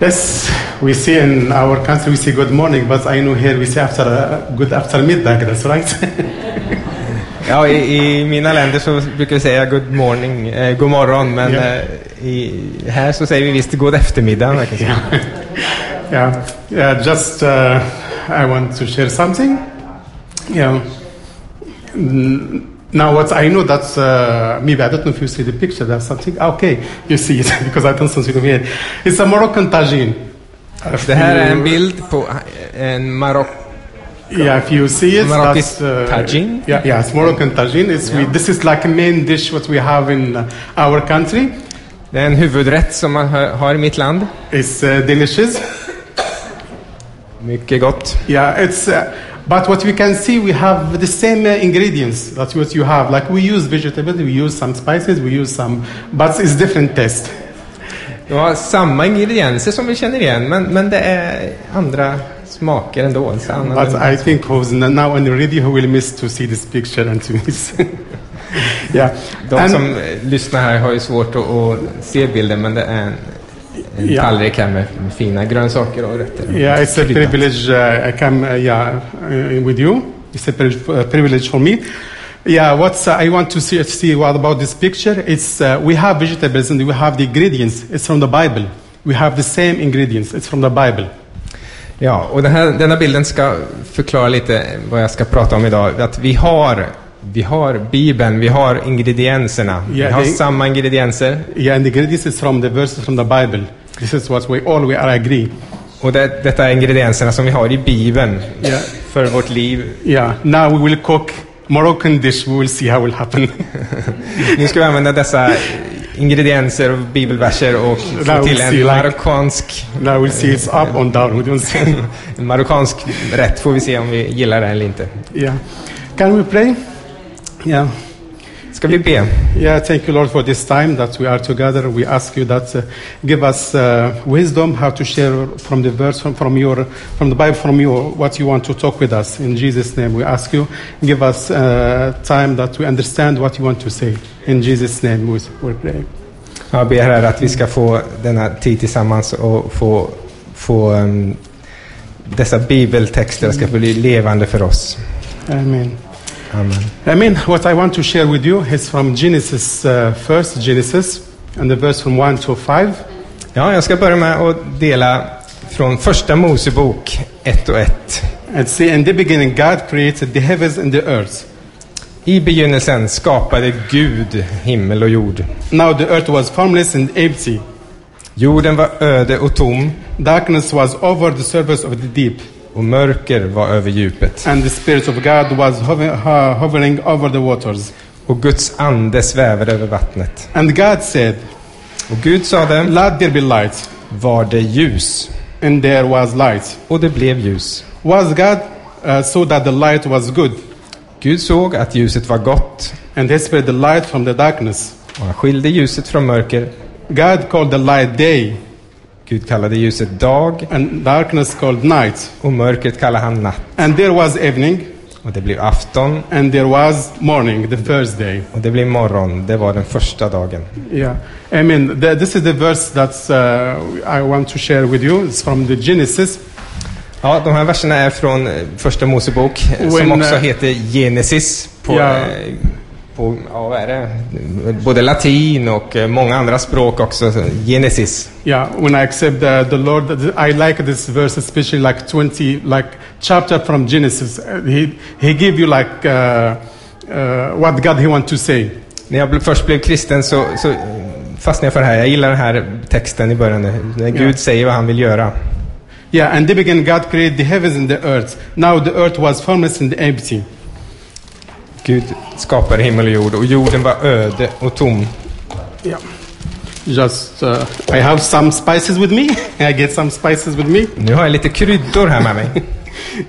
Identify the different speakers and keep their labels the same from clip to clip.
Speaker 1: Yes, we see in our country we say good morning, but I know here we say after uh, good after midnight. That's right.
Speaker 2: Ja, i, i mina länder så brukar vi säga good morning, eh, god morgon, men
Speaker 1: Ja.
Speaker 2: eh, i, här så säger vi visst god eftermiddag. verkar det som.
Speaker 1: yeah, yeah. Just uh, I want to share something. Yeah. Mm, Now what I know that uh, maybe I don't know if you see the picture. That's something. ah, Okay, you see it because I don't see it here. It's a Moroccan tagine. If
Speaker 2: Det här är
Speaker 1: you-
Speaker 2: en bild på eh, en Marocko
Speaker 1: Yeah, if you see it,
Speaker 2: Moroccan
Speaker 1: that's, uh,
Speaker 2: tagine?
Speaker 1: Yeah, yeah, it's Moroccan tagine. It's we, this is like a main dish what we have in uh, our country.
Speaker 2: Det är en huvudrätt som man hö- har i mitt land.
Speaker 1: It's uh, delicious.
Speaker 2: Mycket gott.
Speaker 1: Yeah, it's. Uh, but what we can see, we have the same uh, ingredients. That's what you have. Like we use vegetables, we use some spices, we use some, but it's different taste.
Speaker 2: De har samma ingredienser som vi känner igen, men, men det är andra smaker ändå. Så annorlunda.
Speaker 1: But I think who's n- now and already who will miss to see this picture and to miss. yeah.
Speaker 2: De
Speaker 1: And-
Speaker 2: som eh, lyssnar här har ju svårt att, att se bilden, men det är en, en
Speaker 1: Ja.
Speaker 2: tallrik här med, med fina grönsaker och rätter.
Speaker 1: Yeah, it's a
Speaker 2: Kryddat.
Speaker 1: privilege. Uh, I come, uh, yeah, uh, with you. It's a priv- uh, privilege for me. Yeah, what's uh, I want to see, see what about this picture? It's uh, we have vegetables and we have the ingredients. It's from the Bible. We have the same ingredients. It's from the Bible.
Speaker 2: Ja, och den här, denna bilden ska förklara lite vad jag ska prata om idag. Att vi har, vi har Bibeln, vi har ingredienserna.
Speaker 1: Ja,
Speaker 2: vi har
Speaker 1: det-
Speaker 2: samma ingredienser.
Speaker 1: Yeah, and the ingredients is from the verses from the Bible. This is what we all we are agree.
Speaker 2: Och det, detta är ingredienserna som vi har i Bibeln
Speaker 1: Ja.
Speaker 2: för vårt liv.
Speaker 1: Yeah. Now we will cook Moroccan dish. We will see how will happen.
Speaker 2: Nu ska vi använda dessa ingredienser och bibelverser och få
Speaker 1: Now
Speaker 2: till
Speaker 1: we
Speaker 2: en
Speaker 1: see, like-
Speaker 2: marockansk,
Speaker 1: now we'll see it's up on down. We don't see.
Speaker 2: en marockansk rätt. Får vi se om vi gillar det eller inte.
Speaker 1: yeah. Can we pray? Yeah.
Speaker 2: Ska vi be?
Speaker 1: Yeah, thank you, Lord, for this time that we are together. We ask you that uh, give us uh, wisdom how to share from the verse from, from your from the Bible from you what you want to talk with us. In Jesus' name, we ask you give us uh, time that we understand what you want to say. In Jesus' name, we, we pray.
Speaker 2: Jag ber Herre att vi ska få denna tid tillsammans och få, få ehm, dessa bibeltexter ska bli levande för oss.
Speaker 1: Amen.
Speaker 2: Amen.
Speaker 1: I mean, what I want to share with you is from Genesis uh, first Genesis and the verse from one to five.
Speaker 2: Ja, jag ska börja med att dela från första Mosebok 1 och 1.
Speaker 1: And see, in the beginning, God created the heavens and the earth.
Speaker 2: I begynnelsen skapade Gud himmel och jord.
Speaker 1: Now the earth was formless and empty.
Speaker 2: Jorden var öde och tom
Speaker 1: Darkness was over the surface of the deep,
Speaker 2: och mörker var över djupet.
Speaker 1: and the Spirit of God was hover- ho- hovering over the waters.
Speaker 2: Och Guds ande svävade över vattnet.
Speaker 1: And God said,
Speaker 2: Och Gud sade,
Speaker 1: Let there be light.
Speaker 2: var det ljus?
Speaker 1: And there was light.
Speaker 2: Och det blev ljus.
Speaker 1: Was God uh, so that the light was good,
Speaker 2: Gud såg att ljuset var gott
Speaker 1: and He spread the light from the darkness.
Speaker 2: och han skilde ljuset från mörker.
Speaker 1: God called the light day,
Speaker 2: Gud kallade ljuset dag
Speaker 1: and darkness called night.
Speaker 2: och mörkret kallade han natt.
Speaker 1: And there was evening,
Speaker 2: Och det blev afton
Speaker 1: and there was morning, the first day.
Speaker 2: och det blev morgon. Det var den första dagen.
Speaker 1: Yeah, I mean, the, this is the verse that uh, I want to share with you. It's from the Genesis.
Speaker 2: Ja, de här verserna är från eh, Första Mosebok eh, som
Speaker 1: When,
Speaker 2: också
Speaker 1: eh,
Speaker 2: heter Genesis på,
Speaker 1: Ja.
Speaker 2: eh, på ja, vad är det? både latin och eh, många andra språk också. så Genesis.
Speaker 1: Yeah, when I accept the, the Lord, th- I like this verse, especially like 20, like chapter from Genesis. Uh, He, he give you like uh, uh, what God he want to say.
Speaker 2: När jag bl- först blev kristen så, så eh, fastnade jag för det här. Jag gillar den här texten i början, eh, när Gud
Speaker 1: Ja.
Speaker 2: säger vad han vill göra.
Speaker 1: Yeah, and they began God created the heavens and the earth. Now the earth was formless and empty.
Speaker 2: Gud skapade himmel och jord och jorden var öde och tom.
Speaker 1: Yeah. Just, uh, I have some spices with me. I get some spices with me.
Speaker 2: Nu har jag lite kryddor här med mig.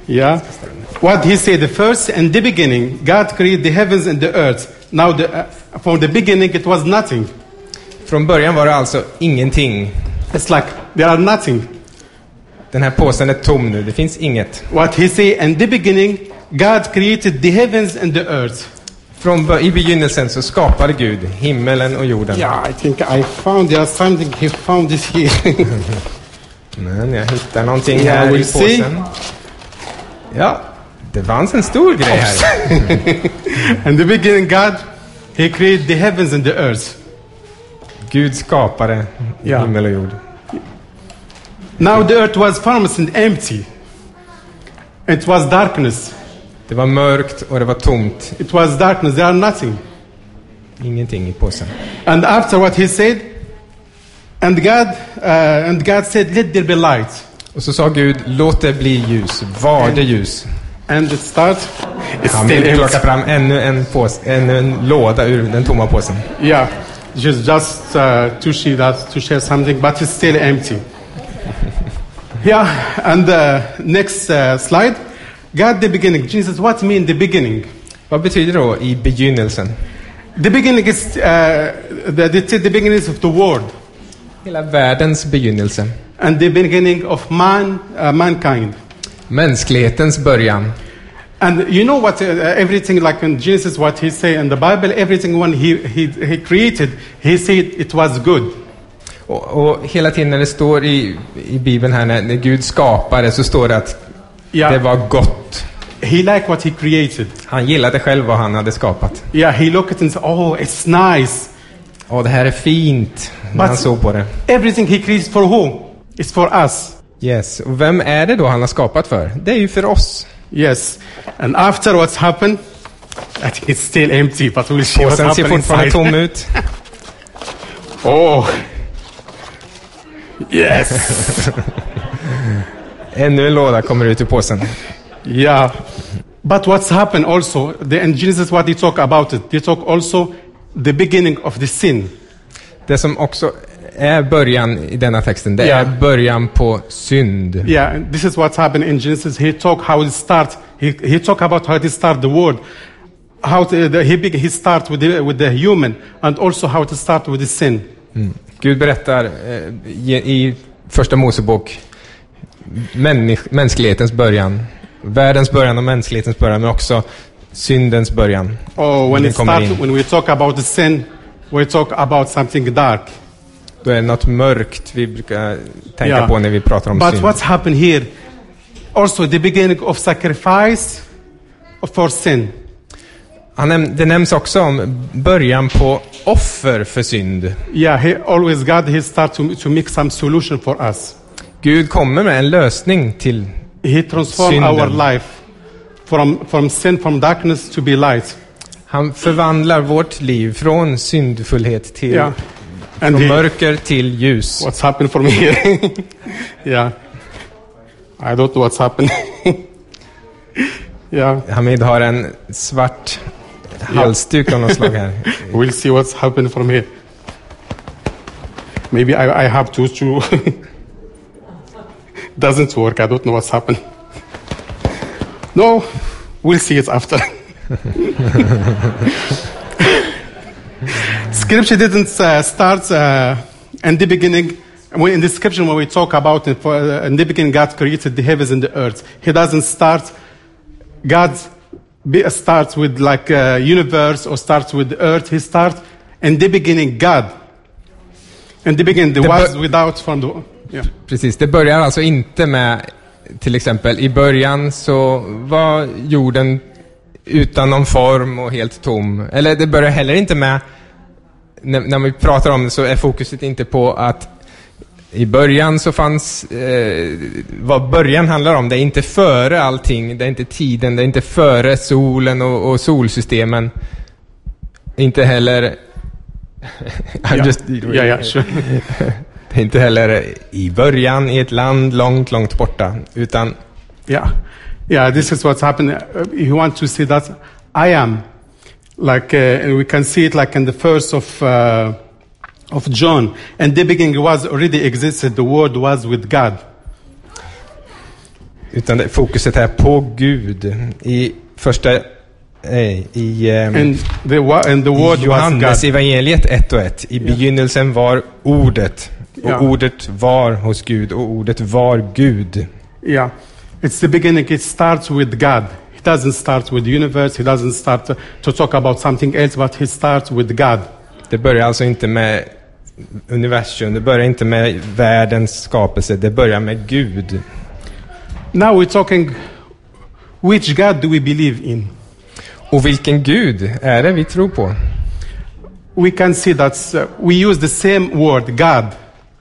Speaker 1: Yeah. What he said the first in the beginning, God created the heavens and the earth. Now the, uh, from the beginning it was nothing.
Speaker 2: Från början var det alltså ingenting.
Speaker 1: It's like there are nothing.
Speaker 2: Den här påsen är tom nu, det finns inget.
Speaker 1: What he say in the beginning, God created the heavens and the earth.
Speaker 2: Från bö- I begynnelsen så skapade Gud himmelen och jorden.
Speaker 1: Yeah, I think I found there is something he found this here.
Speaker 2: Men jag hittar någonting
Speaker 1: Yeah,
Speaker 2: här i
Speaker 1: we'll see.
Speaker 2: påsen. Ja, det fanns en stor grej här.
Speaker 1: In the beginning, God, He created the heavens and the earth.
Speaker 2: Gud skapade
Speaker 1: Ja.
Speaker 2: himmel och jord.
Speaker 1: Now the earth was formless and empty. It was darkness.
Speaker 2: Det var mörkt och det var tomt.
Speaker 1: It was darkness. There are nothing.
Speaker 2: Ingenting i påsen.
Speaker 1: And after what He said, and God, uh, and God said, "Let there be light."
Speaker 2: Och så sa Gud, låt det bli ljus. Var det ljus?
Speaker 1: And it starts. It's
Speaker 2: Han
Speaker 1: still
Speaker 2: vill plocka
Speaker 1: empty.
Speaker 2: fram ännu en, pås, ännu en låda ur den tomma påsen.
Speaker 1: Yeah, just just uh, to see that to share something, but it's still empty. Yeah, and uh, next uh, slide. God, the beginning. Jesus, what mean the beginning?
Speaker 2: Vad betyder då i begynnelsen?
Speaker 1: The beginning is uh, the, the, the beginnings of the world
Speaker 2: Hela världens begynnelse.
Speaker 1: and the beginning of man, uh, mankind.
Speaker 2: Mänsklighetens början.
Speaker 1: And you know what? Uh, everything like in Genesis, what he say in the Bible, everything when he, he, he created, he said it was good.
Speaker 2: Och, och hela tiden när det står i, i Bibeln här, när, när Gud skapade, så står det att
Speaker 1: Ja.
Speaker 2: det var gott.
Speaker 1: He liked what he created.
Speaker 2: Han gillade själv vad han hade skapat.
Speaker 1: Yeah, he looked and said, "Oh, it's nice."
Speaker 2: Åh, det här är fint. När
Speaker 1: But-
Speaker 2: han såg på det.
Speaker 1: Everything he creates for who? It's for us.
Speaker 2: Yes, och vem är det då han har skapat för? Det är ju för oss.
Speaker 1: Yes. And after what's happened, I think it's still empty, but we'll see what
Speaker 2: Påsen ser
Speaker 1: happened
Speaker 2: fortfarande
Speaker 1: inside.
Speaker 2: tom ut.
Speaker 1: Oh. Yes.
Speaker 2: Ännu en låda kommer ut ur påsen.
Speaker 1: yeah. But what's happened also, the, and Jesus, what he talk about it, they talk also the beginning of the sin.
Speaker 2: Det som också är början i denna texten, det
Speaker 1: Ja.
Speaker 2: är början på synd.
Speaker 1: Yeah, and this is what's happened in Genesis. He talk how it start. He, he talk about how it start the world, how to, the, he beg- he start with the, with the human, and also how to start with the sin.
Speaker 2: Gud berättar eh, i i första Mosebok människ- mänsklighetens början, världens början och mänsklighetens början, men också syndens början.
Speaker 1: Or Oh, when
Speaker 2: Den
Speaker 1: it
Speaker 2: kommer
Speaker 1: start,
Speaker 2: in.
Speaker 1: when we talk about the sin, we talk about something dark.
Speaker 2: Då är det något mörkt vi brukar tänka
Speaker 1: Ja.
Speaker 2: på när vi pratar om
Speaker 1: But
Speaker 2: synd.
Speaker 1: what's happened here, also the beginning of sacrifice for sin.
Speaker 2: Han näm- det nämns också om början på offer för synd.
Speaker 1: Yeah, he always God he start to to make some solution for us.
Speaker 2: Gud kommer med en lösning till
Speaker 1: He transform our
Speaker 2: Synden.
Speaker 1: life from from sin from darkness to be light.
Speaker 2: Han förvandlar vårt liv från syndfullhet till
Speaker 1: Yeah. And
Speaker 2: från
Speaker 1: he-
Speaker 2: mörker till ljus.
Speaker 1: what's happened for me here. yeah. I don't know what's happened. yeah.
Speaker 2: Hamid har en svart halsduk av något slag här.
Speaker 1: We'll see what's happened from here. Maybe I, I have to to doesn't work. I don't know what's happened. No, we'll see it after. Scripture didn't uh, start uh, in the beginning. When in the scripture, when we talk about it, for, uh, in the beginning, God created the heavens and the earth. He doesn't start God be, uh, starts with like uh, universe or starts with earth. He starts in the beginning, God. In the beginning, there
Speaker 2: The
Speaker 1: was
Speaker 2: bu-
Speaker 1: without from the. Yeah.
Speaker 2: Precis, det börjar alltså inte med till exempel i början så var jorden utan någon form och helt tom. Eller det börjar heller inte med, när, när vi pratar om det så är fokuset inte på att i början så fanns, eh, vad början handlar om, det är inte före allting, det är inte tiden, det är inte före solen och, och solsystemen. Inte heller... I'm
Speaker 1: yeah.
Speaker 2: just-
Speaker 1: yeah, yeah, sure.
Speaker 2: det är inte heller i början i ett land långt, långt borta. Utan
Speaker 1: Yeah, yeah. This is what's happening. Uh, You want to see that I am, like uh, and we can see it like in the first of uh, of John. And the beginning was already existed. The Word was with God.
Speaker 2: Utan det, fokuset är på Gud. I första... Nej, i, ehm,
Speaker 1: And the wa- and the Word
Speaker 2: i
Speaker 1: was God.
Speaker 2: Johannes evangeliet 1 och 1. I begynnelsen var ordet. Och
Speaker 1: Ja.
Speaker 2: ordet var hos Gud. Och ordet var Gud.
Speaker 1: Yeah, it's the beginning. It starts with God. He doesn't start with the universe. He doesn't start to, to talk about something else, but he starts with God.
Speaker 2: Det börjar alltså inte med universum. Det börjar inte med världens skapelse, det börjar med Gud.
Speaker 1: Now we're talking which God do we believe in?
Speaker 2: Och vilken Gud är det vi tror på?
Speaker 1: We can see that uh, we use the same word, God,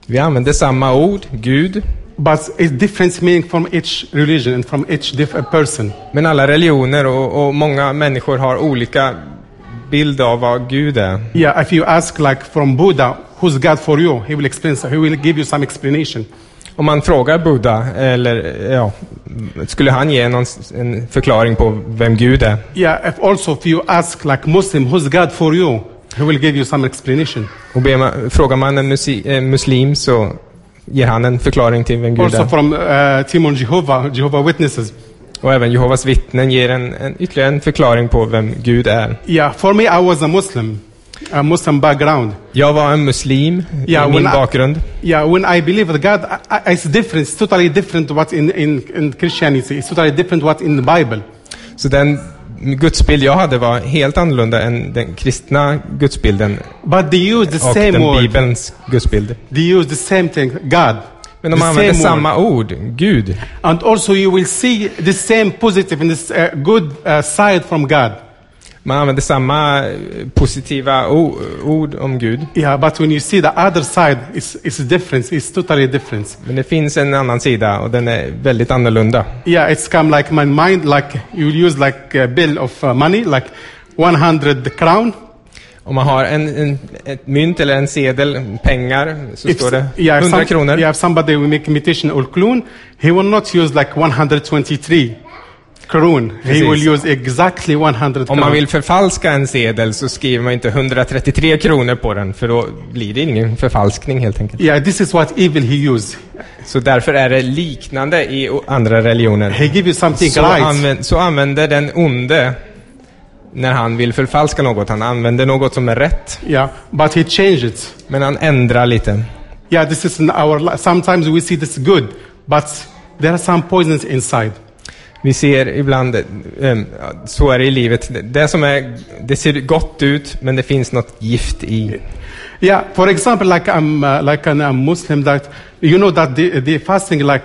Speaker 2: Vi använder samma ord, Gud,
Speaker 1: but it's different meaning from each religion and from each different person.
Speaker 2: men alla religioner och, och många människor har olika bild av vad Gud är.
Speaker 1: Yeah, if you ask like from Buddha, who's God for you? He will explain, he will give you some explanation.
Speaker 2: Om man frågar Buddha, eller ja, skulle han ge någon, s- en förklaring på vem Gud är?
Speaker 1: Yeah, if also if you ask like Muslim, who's God for you? He will give you some explanation.
Speaker 2: Och ber man, frågar man en musi, eh, muslim så ger han en förklaring till vem Gud
Speaker 1: Also
Speaker 2: är.
Speaker 1: from uh, Timon Jehovah, Jehovah Witnesses.
Speaker 2: Och även Jehovas vittnen ger en, en, ytterligare en förklaring på vem Gud är.
Speaker 1: Yeah, for me, I was a Muslim, a Muslim background.
Speaker 2: Jag var en muslim
Speaker 1: Ja,
Speaker 2: i min
Speaker 1: men-
Speaker 2: bakgrund.
Speaker 1: Yeah, when I believe in God, I, I, it's different. It's totally different what in, in, in Christianity. It's totally different what in the Bible.
Speaker 2: Så den gudsbild jag hade var helt annorlunda än den kristna gudsbilden
Speaker 1: But they use the
Speaker 2: och
Speaker 1: same
Speaker 2: den
Speaker 1: word.
Speaker 2: bibelns gudsbild.
Speaker 1: They use the same thing, God.
Speaker 2: Men de
Speaker 1: the
Speaker 2: använder
Speaker 1: same word.
Speaker 2: samma ord, Gud.
Speaker 1: And also, you will see the same positive and this uh, good uh, side from God.
Speaker 2: Man använder samma eh, positiva o- ord om Gud.
Speaker 1: Yeah, but when you see the other side, it's, it's different. It's totally different.
Speaker 2: Men det finns en annan sida och den är väldigt annorlunda.
Speaker 1: Yeah, it's come like my mind, like you use like a bill of uh, money, like 100 crown.
Speaker 2: Om man har en, en ett mynt eller en sedel, pengar, så
Speaker 1: If-
Speaker 2: står det
Speaker 1: yeah, if
Speaker 2: 100
Speaker 1: some-
Speaker 2: kronor.
Speaker 1: Yeah, if somebody will make imitation or clone, he will not use like 123 crown. He
Speaker 2: Precis.
Speaker 1: will use exactly 100
Speaker 2: Om man
Speaker 1: crown.
Speaker 2: vill förfalska en sedel så skriver man inte 133 kronor på den, för då blir det ingen förfalskning helt enkelt.
Speaker 1: Yeah, this is what evil he use.
Speaker 2: Så därför är det liknande i o- andra religioner.
Speaker 1: He give you something
Speaker 2: Så,
Speaker 1: right.
Speaker 2: använ- så använder den onde, när han vill förfalska något, han använder något som är rätt,
Speaker 1: yeah, but he change it.
Speaker 2: men han ändrar lite.
Speaker 1: Yeah, this is in our li- Sometimes we see this good, but there are some poisons inside.
Speaker 2: Vi ser ibland, eh, ja, så är det i livet, Det- det som är, det ser gott ut, men det finns något gift i.
Speaker 1: Yeah, for example, like I'm uh, like an, a Muslim that you know that they, they fasting like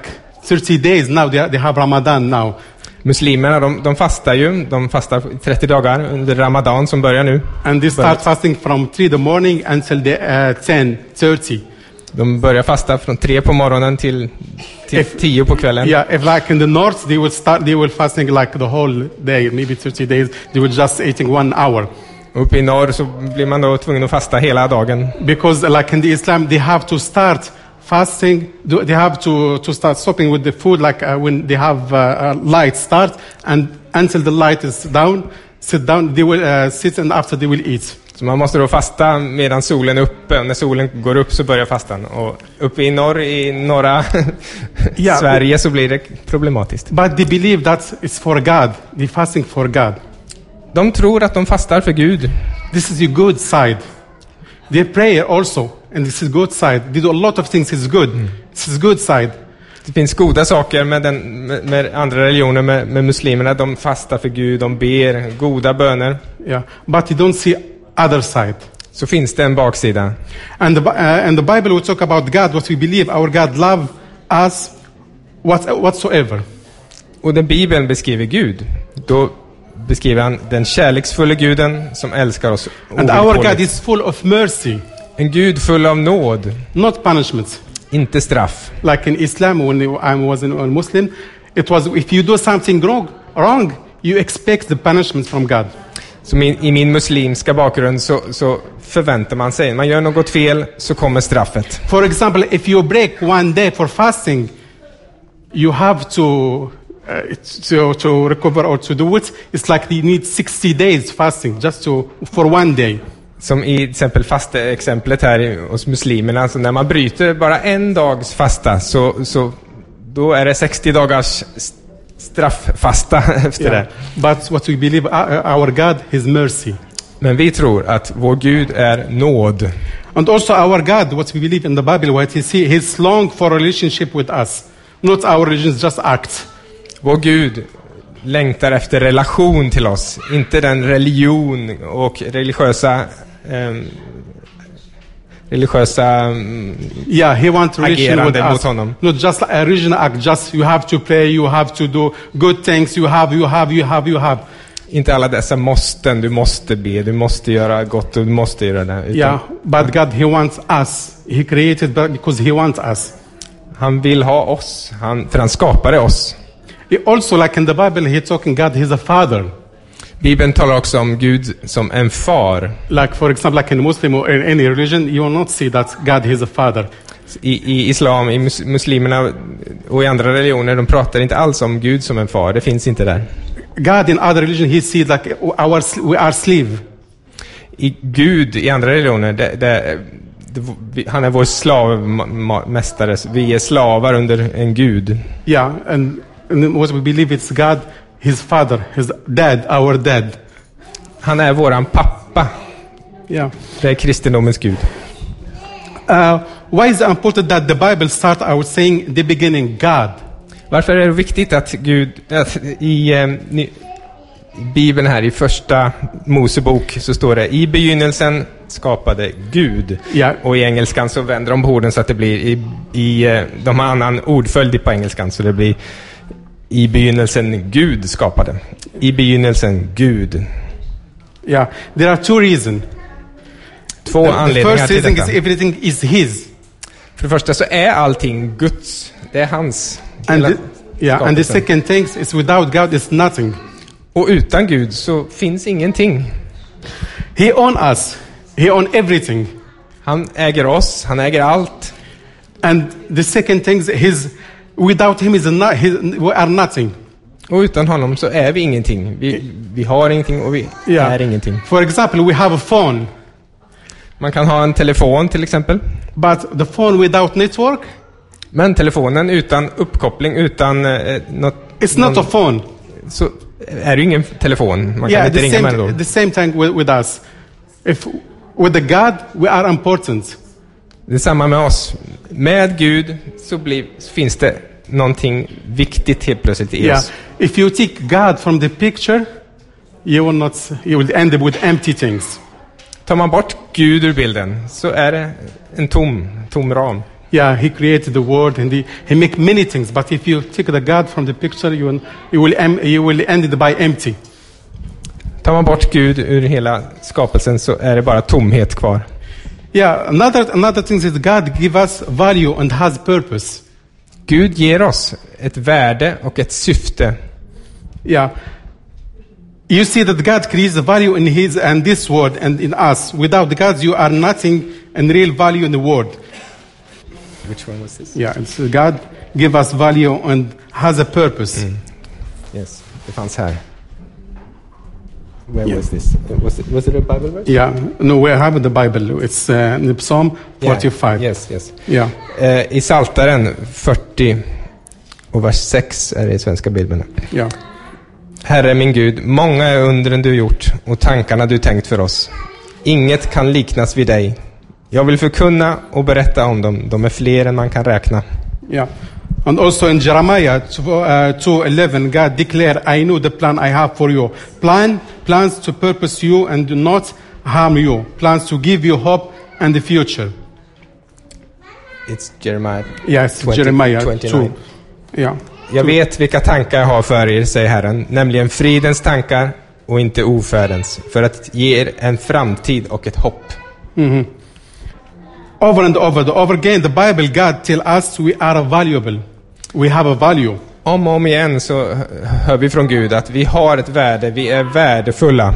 Speaker 1: 30 days now. They, they have Ramadan now,
Speaker 2: Muslimerna, de, de fastar ju, de fastar 30 dagar under Ramadan som börjar nu.
Speaker 1: and they start fasting from 3 the morning until the uh, 10, 30.
Speaker 2: De börjar fasta från tre på morgonen till, till
Speaker 1: If-
Speaker 2: tio på kvällen.
Speaker 1: Yeah, if like in the north, they will start they will fasting like the whole day, maybe 30 days. They will just eating one hour
Speaker 2: Uppe i norr så blir man då tvungen att fasta hela dagen.
Speaker 1: because uh, like in the Islam, they have to start fasting. do- They have to to start stopping with the food like uh, when they have uh, uh, light start and until the light is down. Sit down. They will uh, sit and after they will eat.
Speaker 2: Så man måste då fasta medan solen är uppe. Och När solen går upp så börjar fastan. Och uppe i norr, i norra
Speaker 1: Ja.
Speaker 2: Sverige så blir det problematiskt.
Speaker 1: But they believe that it's for God. They fasting for God.
Speaker 2: De tror att de fastar för Gud.
Speaker 1: This is your good side. Their prayer also, and this is good side. They do a lot of things. It's good. This is good side.
Speaker 2: Det finns goda saker med, den, med, med andra religioner, med, med muslimerna. De fastar för Gud, de ber goda böner.
Speaker 1: Yeah, but you don't see other side.
Speaker 2: Så finns det en baksida.
Speaker 1: And the, Bi- uh, and the Bible will talk about God, what we believe. Our God love us what, whatsoever.
Speaker 2: Och när Bibeln beskriver Gud, då beskriver han den kärleksfulla guden som älskar oss
Speaker 1: And our God
Speaker 2: ovillkorligt.
Speaker 1: is full of mercy,
Speaker 2: En gud full av nåd,
Speaker 1: not punishment.
Speaker 2: inte straff.
Speaker 1: Like in Islam, when I was a Muslim, it was if you do something wrong, wrong, you expect the punishment from God.
Speaker 2: Så min, i min muslimska bakgrund så, så förväntar man sig, man gör något fel så kommer straffet.
Speaker 1: For example, if you break one day for fasting, you have to, uh, to, to recover or to do it. It's like you need 60 days fasting just to, for one day.
Speaker 2: Som i till exempel fasta exemplet här i- hos muslimerna, så när man bryter bara en dags fasta så, så då är det 60 dagars s- strafffasta efter det.
Speaker 1: But what we believe, uh, uh, our God, His mercy.
Speaker 2: Men vi tror att vår Gud är nåd.
Speaker 1: And also our God, what we believe in the Bible, what He see, He's long for relationship with us. Not our religions, just acts.
Speaker 2: Vår Gud längtar efter relation till oss, inte den religion och religiösa eh, ehm, religiösa... mm,
Speaker 1: Yeah, he wants relation with
Speaker 2: Agerande mot
Speaker 1: us.
Speaker 2: honom.
Speaker 1: Not just a religion act, just you have to pray, you have to do good things, you have, you have, you have, you have.
Speaker 2: Inte alla dessa måsten, du måste be, du måste göra gott, och du måste göra det. här, utan
Speaker 1: Yeah, but God, He wants us. He created that because He wants us.
Speaker 2: Han vill ha oss, han, för han skapade oss.
Speaker 1: He also, like in the Bible, He talking God, He's a father.
Speaker 2: Bibeln talar också om Gud som en far.
Speaker 1: Like, for example, like in Muslim or in any religion, you will not see that God, He's a father.
Speaker 2: I, I islam, i mus, muslimerna och i andra religioner, de pratar inte alls om Gud som en far. Det finns inte där.
Speaker 1: God in other religion, He see like our, we are slave.
Speaker 2: I Gud i andra religioner, det, det, det, vi- han är vår slavmästare. Vi är slavar under en gud.
Speaker 1: Yeah, and, and what we believe it's God, His father, His dad, our dad.
Speaker 2: Han är våran pappa.
Speaker 1: Yeah.
Speaker 2: Det är kristendomens gud.
Speaker 1: Uh, why is it important that the Bible start out saying the beginning God?
Speaker 2: Varför är det viktigt att Gud, att i eh, ny, Bibeln här i första Mosebok så står det i begynnelsen skapade Gud.
Speaker 1: Ja.
Speaker 2: Och i engelskan så vänder de på orden så att det blir i, i eh, de har annan ordföljd på engelskan så det blir i begynnelsen Gud skapade. I begynnelsen Gud.
Speaker 1: Yeah, there are two reasons.
Speaker 2: Två
Speaker 1: the
Speaker 2: anledningar
Speaker 1: first
Speaker 2: till
Speaker 1: reason
Speaker 2: detta.
Speaker 1: is everything is His,
Speaker 2: För det första så är allting Guds. Det är hans.
Speaker 1: and
Speaker 2: Hela
Speaker 1: the, yeah, and the
Speaker 2: skapelsen.
Speaker 1: second thing is without God is nothing.
Speaker 2: Och utan Gud så finns ingenting.
Speaker 1: He own us, He own everything,
Speaker 2: Han äger oss, han äger allt.
Speaker 1: and the second thing is His. Without Him is not. His, we are nothing.
Speaker 2: Och utan honom så är vi ingenting. Vi, vi har ingenting och vi
Speaker 1: Yeah.
Speaker 2: är ingenting.
Speaker 1: For example, we have a phone,
Speaker 2: Man kan ha en telefon till exempel.
Speaker 1: but the phone without network,
Speaker 2: Men telefonen utan uppkoppling, utan eh, något...
Speaker 1: it's not a phone.
Speaker 2: Så är det ju ingen telefon. Man kan
Speaker 1: yeah,
Speaker 2: inte
Speaker 1: the
Speaker 2: ringa med den
Speaker 1: same,
Speaker 2: då.
Speaker 1: the same thing with, with us. If with the God, we are important.
Speaker 2: Det är samma med oss. Med Gud så blir, så finns det någonting viktigt helt plötsligt i oss.
Speaker 1: Yeah. If you take God from the picture, you will not. You will end up with empty things.
Speaker 2: Tar man bort Gud ur bilden så är det en tom, tom ram.
Speaker 1: Yeah, He created the world and He, he make many things. But if you take the God from the picture, you will you will, em, you will end it by empty.
Speaker 2: Tar man bort Gud ur hela skapelsen så är det bara tomhet kvar.
Speaker 1: Yeah. Another another thing is God give us value and has purpose.
Speaker 2: Gud ger oss ett värde och ett syfte.
Speaker 1: Yeah. You see that God creates value in His and this world and in us. Without God, you are nothing and real value in the world.
Speaker 2: Which one was this?
Speaker 1: Yeah, it's God give us value and has a purpose.
Speaker 2: Mm. Yes, det fanns här. Where was this? Was it, was it a Bible verse?
Speaker 1: Yeah, no, we have the Bible. It's uh, in Psalm 45.
Speaker 2: Yeah, yes, yes.
Speaker 1: Yeah.
Speaker 2: Eh, I Saltaren 40 och vers 6 är det i svenska bibeln.
Speaker 1: Yeah.
Speaker 2: Herre min Gud, många är undren du gjort och tankarna du tänkt för oss. Inget kan liknas vid dig. Jag vill förkunna och berätta om dem. De är fler än man kan räkna.
Speaker 1: Yeah. And also in Jeremiah 2, uh, 2:11, God declared, I know the plan I have for you. Plan, plans to purpose you and do not harm you. Plans to give you hope and the future.
Speaker 2: It's Jeremiah.
Speaker 1: Yes,
Speaker 2: 20,
Speaker 1: Jeremiah
Speaker 2: 29.
Speaker 1: 2. Yeah.
Speaker 2: Jag vet vilka tankar jag har för er, säger Herren, nämligen fridens tankar och inte ofärdens, för att ge er en framtid och ett hopp.
Speaker 1: Over and over, the over again, the Bible, God tell us we are valuable. We have a value.
Speaker 2: Om och om igen så hör vi från Gud att vi har ett värde, vi är värdefulla.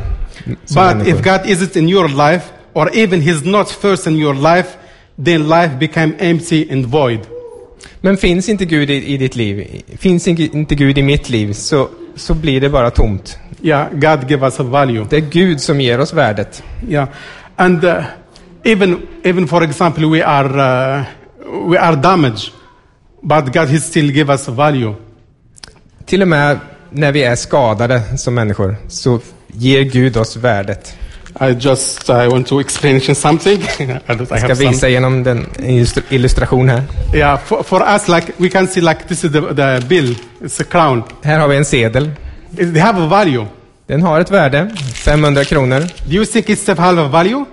Speaker 2: som
Speaker 1: But
Speaker 2: människor.
Speaker 1: if God isn't in your life, or even He's not first in your life, then life become empty and void.
Speaker 2: Men finns inte Gud i, i ditt liv, finns inte inte Gud i mitt liv, så, så blir det bara tomt.
Speaker 1: Yeah, God give us a value.
Speaker 2: Det är Gud som ger oss värdet.
Speaker 1: Yeah, and uh, even even for example, we are uh, we are damaged, but God He still give us value.
Speaker 2: Till och med när vi är skadade som människor, så ger Gud oss värdet.
Speaker 1: I just I want to explain something. I don't- I
Speaker 2: Jag
Speaker 1: have
Speaker 2: ska
Speaker 1: some-
Speaker 2: visa genom den illustr- illustration här.
Speaker 1: Yeah, for, for us, like we can see, like this is the, the bill. It's a crown.
Speaker 2: Här har vi en sedel.
Speaker 1: It, they have a value.
Speaker 2: Den har ett värde, 500 kronor.
Speaker 1: Do you think it's have a value?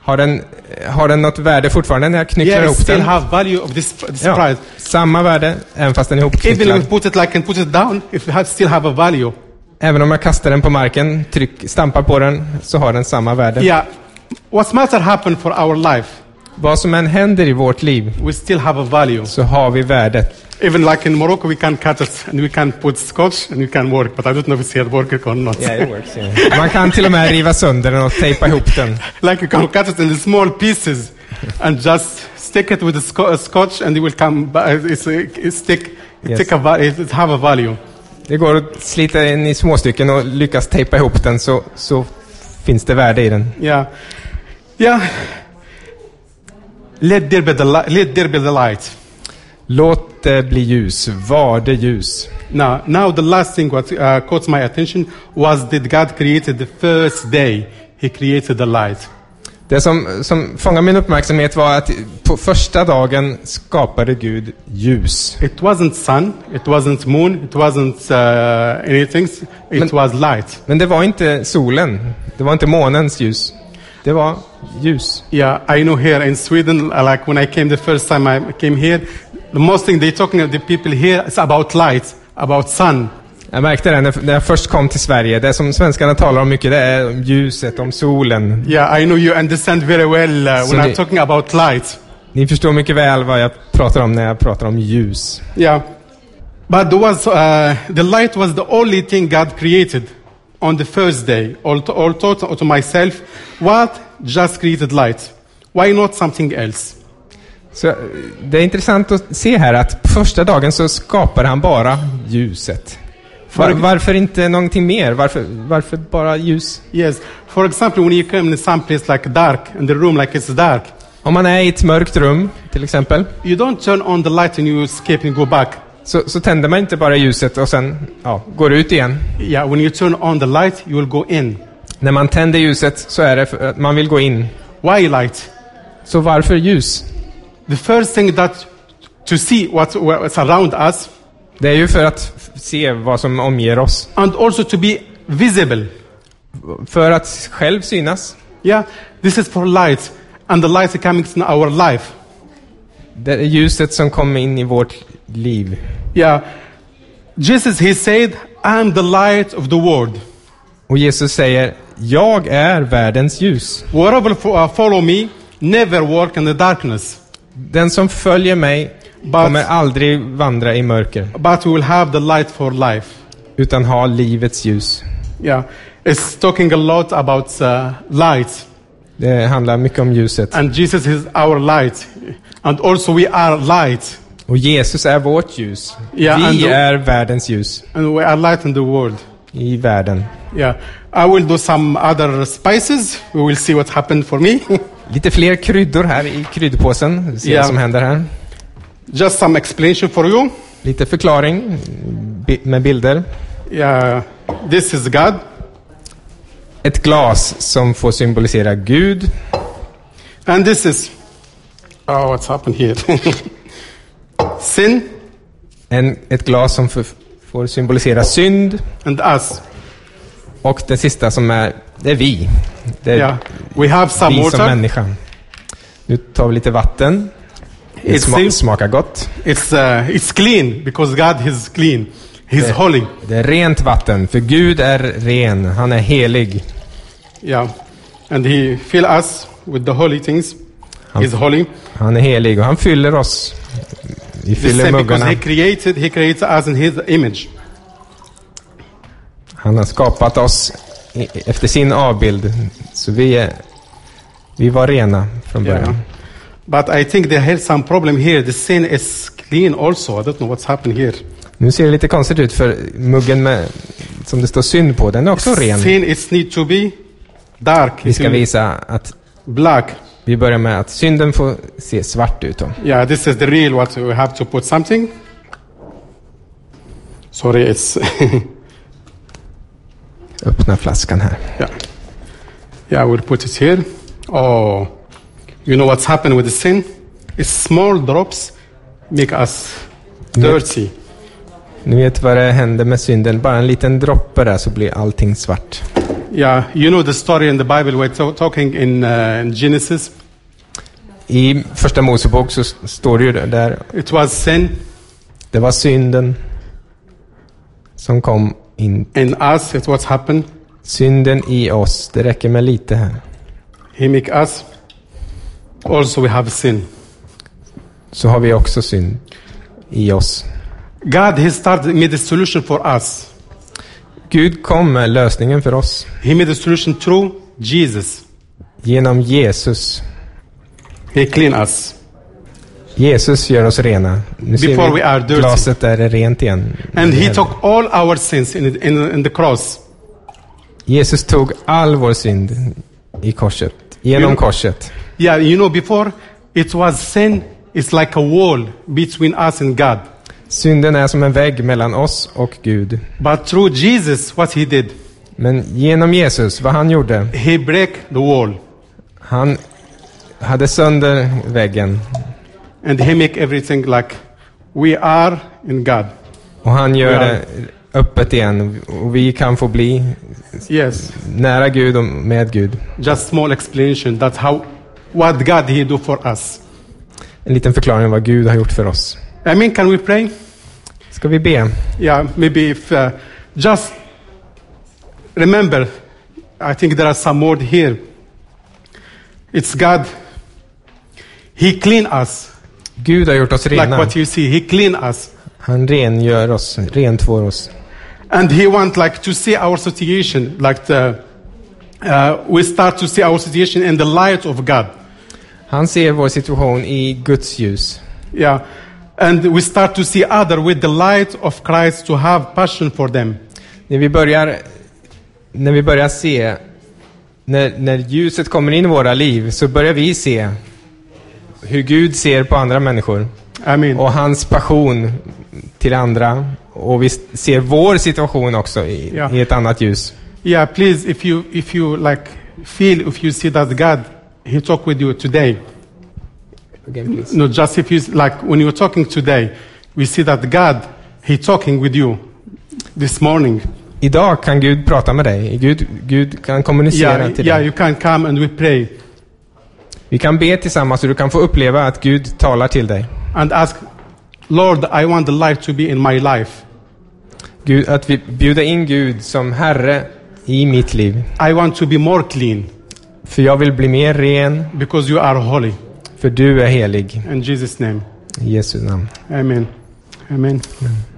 Speaker 2: Har den, eh, har den något värde fortfarande när jag knycklar
Speaker 1: Yeah, it
Speaker 2: ihop
Speaker 1: still
Speaker 2: den?
Speaker 1: have value of this, this
Speaker 2: Ja,
Speaker 1: price.
Speaker 2: samma värde, även fast den är
Speaker 1: Even
Speaker 2: ihopknycklad.
Speaker 1: if you put it like and put it down, if it has, still have a value.
Speaker 2: Även om jag kastar den på marken, tryck, stampar på den, så har den samma värde.
Speaker 1: Yeah. What matter happen for our life,
Speaker 2: Vad som än händer i vårt liv,
Speaker 1: we still have a value.
Speaker 2: så har vi värdet.
Speaker 1: Even like in Morocco, we can cut it and we can put scotch and we can work. But I don't know if it's here working or not.
Speaker 2: Man kan till och med riva sönder den och tejpa ihop den.
Speaker 1: like you can cut it in small pieces and just stick it with the sco- uh, scotch and it will come. ba- uh, It's a, it's stick. It
Speaker 2: Yes.
Speaker 1: take a va- it it have a value.
Speaker 2: Det går att slita den i små stycken och lyckas tejpa ihop den så, så finns det värde i den.
Speaker 1: Yeah, yeah. Let there be the li- let there be the light.
Speaker 2: Låt det bli ljus, var det ljus.
Speaker 1: Now, now the last thing what uh, caught my attention was that God created the first day. He created the light.
Speaker 2: Det som, som fångade min uppmärksamhet var att på första dagen skapade Gud ljus.
Speaker 1: It wasn't sun. It wasn't moon. It wasn't uh, anything. It
Speaker 2: Men-
Speaker 1: was light.
Speaker 2: Men det var inte solen, det var inte månens ljus. Det var ljus.
Speaker 1: Yeah, I know here in Sweden, uh, like when I came the first time I came here, the most thing they talking to the people here is about light, about sun.
Speaker 2: Jag märkte det när när jag först kom till Sverige. Det som svenskarna talar om mycket, det är om ljuset, om solen.
Speaker 1: Yeah, I know you understand very well uh,
Speaker 2: So
Speaker 1: when I'm
Speaker 2: the-
Speaker 1: talking about light.
Speaker 2: Ni förstår mycket väl vad jag pratar om när jag pratar om ljus.
Speaker 1: Yeah. But there was, uh, the light was the only thing God created on the first day. All to, all thought to myself, what just created light? Why not something else?
Speaker 2: Så eh, det är intressant att se här att på första dagen så skapar han bara ljuset. Var, varför inte någonting mer? Varför, varför bara ljus?
Speaker 1: Yes. For example, when you come in some place like dark, in the room like it's dark,
Speaker 2: Om man är i ett mörkt rum, till exempel,
Speaker 1: you don't turn on the light and you escape and go back.
Speaker 2: så, så tänder man inte bara ljuset och sen ja, går ut igen.
Speaker 1: Yeah, when you turn on the light, you will go in.
Speaker 2: När man tänder ljuset så är det för att man vill gå in.
Speaker 1: Why light?
Speaker 2: Så varför ljus?
Speaker 1: The first thing that to see what what's around us
Speaker 2: Det är ju för att f- se vad som omger oss.
Speaker 1: and also to be visible.
Speaker 2: För att själv synas.
Speaker 1: Yeah, this is for light, and the light is coming in our life.
Speaker 2: Det är ljuset som kommer in i vårt liv.
Speaker 1: Yeah, Jesus he said, "I am the light of the world.
Speaker 2: Och Jesus säger, jag är världens ljus.
Speaker 1: Whoever fo- uh, follow me never walk in the darkness,
Speaker 2: Den som följer mig kommer aldrig vandra i mörker,
Speaker 1: but we will have the light for life."
Speaker 2: utan ha livets ljus.
Speaker 1: Yeah, it's talking a lot about uh, light.
Speaker 2: Det handlar mycket om ljuset.
Speaker 1: And Jesus is our light. And also we are light.
Speaker 2: Och Jesus är vårt ljus.
Speaker 1: Ja,
Speaker 2: Vi
Speaker 1: ändå.
Speaker 2: är världens ljus
Speaker 1: And we are light in the world.
Speaker 2: i världen.
Speaker 1: Yeah. I will do some other spices. We will see what happened for me.
Speaker 2: Lite fler kryddor här i kryddpåsen. Vi ser
Speaker 1: Ja.
Speaker 2: vad som händer här.
Speaker 1: Just some explanation for you.
Speaker 2: Lite förklaring bi- med bilder.
Speaker 1: Yeah. This is God.
Speaker 2: Ett glas som får symbolisera Gud.
Speaker 1: And this is Oh, what's happened here? Sin
Speaker 2: En, ett glas som för, får symbolisera synd.
Speaker 1: and us.
Speaker 2: Och det sista som är, det är vi. Det är
Speaker 1: Yeah. We have some
Speaker 2: vi som
Speaker 1: water.
Speaker 2: människa. Nu tar vi lite vatten. Det
Speaker 1: It's
Speaker 2: sma-
Speaker 1: sim-
Speaker 2: smakar gott.
Speaker 1: It's uh, it's clean because God is clean. He's holy.
Speaker 2: Det är rent vatten, för Gud är ren. Han är helig.
Speaker 1: Yeah. And he fill us with the holy things. He's holy.
Speaker 2: Han är helig och han fyller oss. Vi
Speaker 1: The
Speaker 2: fyller
Speaker 1: same because
Speaker 2: muggarna.
Speaker 1: he created he created us in his image
Speaker 2: Han har skapat oss i- efter sin avbild. Så vi, är, vi var rena från
Speaker 1: yeah.
Speaker 2: början.
Speaker 1: but i think they had some problem here the sin is clean also i don't know what's happened here
Speaker 2: Nu ser det lite konstigt ut för muggen med, som det står synd på, den är också ren.
Speaker 1: sin is need to be dark
Speaker 2: Vi ska
Speaker 1: it will-
Speaker 2: visa att
Speaker 1: black
Speaker 2: vi börjar med att synden får se svart ut. Då.
Speaker 1: yeah this is the real what we have to put something sorry it's
Speaker 2: Öppna flaskan här.
Speaker 1: yeah yeah we'll put it here oh you know what's happened with the sin it's small drops make us dirty
Speaker 2: Ni vet vad det händer med synden. Bara en liten droppe där så blir allting svart.
Speaker 1: Yeah, you know the story in the Bible. We're to- talking in, uh, in Genesis.
Speaker 2: I första Mosebok så s- står det ju där,
Speaker 1: It was sin
Speaker 2: det var synden som kom in.
Speaker 1: in us. It's what happened.
Speaker 2: Synden i oss, det räcker med lite här.
Speaker 1: He make us. Also, we have sin.
Speaker 2: Så har vi också synd i oss.
Speaker 1: God, He started made a solution for us.
Speaker 2: Gud kom med lösningen för oss
Speaker 1: He made a solution through Jesus.
Speaker 2: genom Jesus.
Speaker 1: He clean us.
Speaker 2: Jesus gör oss rena. Nu ser
Speaker 1: Before
Speaker 2: vi
Speaker 1: we are dirty.
Speaker 2: glaset där är rent igen.
Speaker 1: And He took all our sins in, in, in the cross.
Speaker 2: Jesus tog all vår synd i korset, genom
Speaker 1: Genom-
Speaker 2: korset.
Speaker 1: Yeah, you know, before it was sin. It's like a wall between us and God.
Speaker 2: Synden är som en vägg mellan oss och Gud.
Speaker 1: But through Jesus, what He did,
Speaker 2: Men genom Jesus, vad han gjorde,
Speaker 1: He break the wall
Speaker 2: han hade sönder väggen
Speaker 1: and He make everything like we are in God.
Speaker 2: och han gör
Speaker 1: Ja.
Speaker 2: det öppet igen. Och vi kan få bli
Speaker 1: Yes,
Speaker 2: nära Gud och med Gud.
Speaker 1: just small explanation. That's how what God He do for us.
Speaker 2: En liten förklaring av vad Gud har gjort för oss.
Speaker 1: I mean, can we pray?
Speaker 2: Ska vi be?
Speaker 1: Yeah, maybe if uh, just remember, I think there are some word here. It's God. He clean us,
Speaker 2: Gud har gjort oss
Speaker 1: like
Speaker 2: rena.
Speaker 1: what you see. He clean us,
Speaker 2: Han rengör oss, rentvår oss.
Speaker 1: and He want like to see our situation, like the, uh, we start to see our situation in the light of God.
Speaker 2: Han ser vår situation i Guds ljus.
Speaker 1: Yeah, and we start to see other with the light of Christ to have passion for them.
Speaker 2: När vi börjar, när vi börjar se, när, när ljuset kommer in i våra liv så börjar vi se hur Gud ser på andra människor
Speaker 1: I mean,
Speaker 2: och hans passion till andra. Och vi s- ser vår situation också i,
Speaker 1: Ja.
Speaker 2: i ett annat ljus.
Speaker 1: yeah. Please, if you if you like feel if you see that God, He talk with you today. No, just if you like when you're talking today, we see that God, He talking with you this morning.
Speaker 2: Idag kan Gud prata med dig. Gud, Gud kan kommunicera
Speaker 1: Yeah,
Speaker 2: till
Speaker 1: yeah.
Speaker 2: dig.
Speaker 1: You can come and we pray
Speaker 2: Vi kan be tillsammans och du kan få uppleva att Gud talar till dig.
Speaker 1: and ask, Lord, I want the light to be in my life.
Speaker 2: Gud, att vi bjuder in Gud som Herre i mitt liv.
Speaker 1: I want to be more clean
Speaker 2: För jag vill bli mer ren,
Speaker 1: because you are holy.
Speaker 2: för du är helig.
Speaker 1: In Jesus' name,
Speaker 2: I Jesu namn.
Speaker 1: Amen. Amen.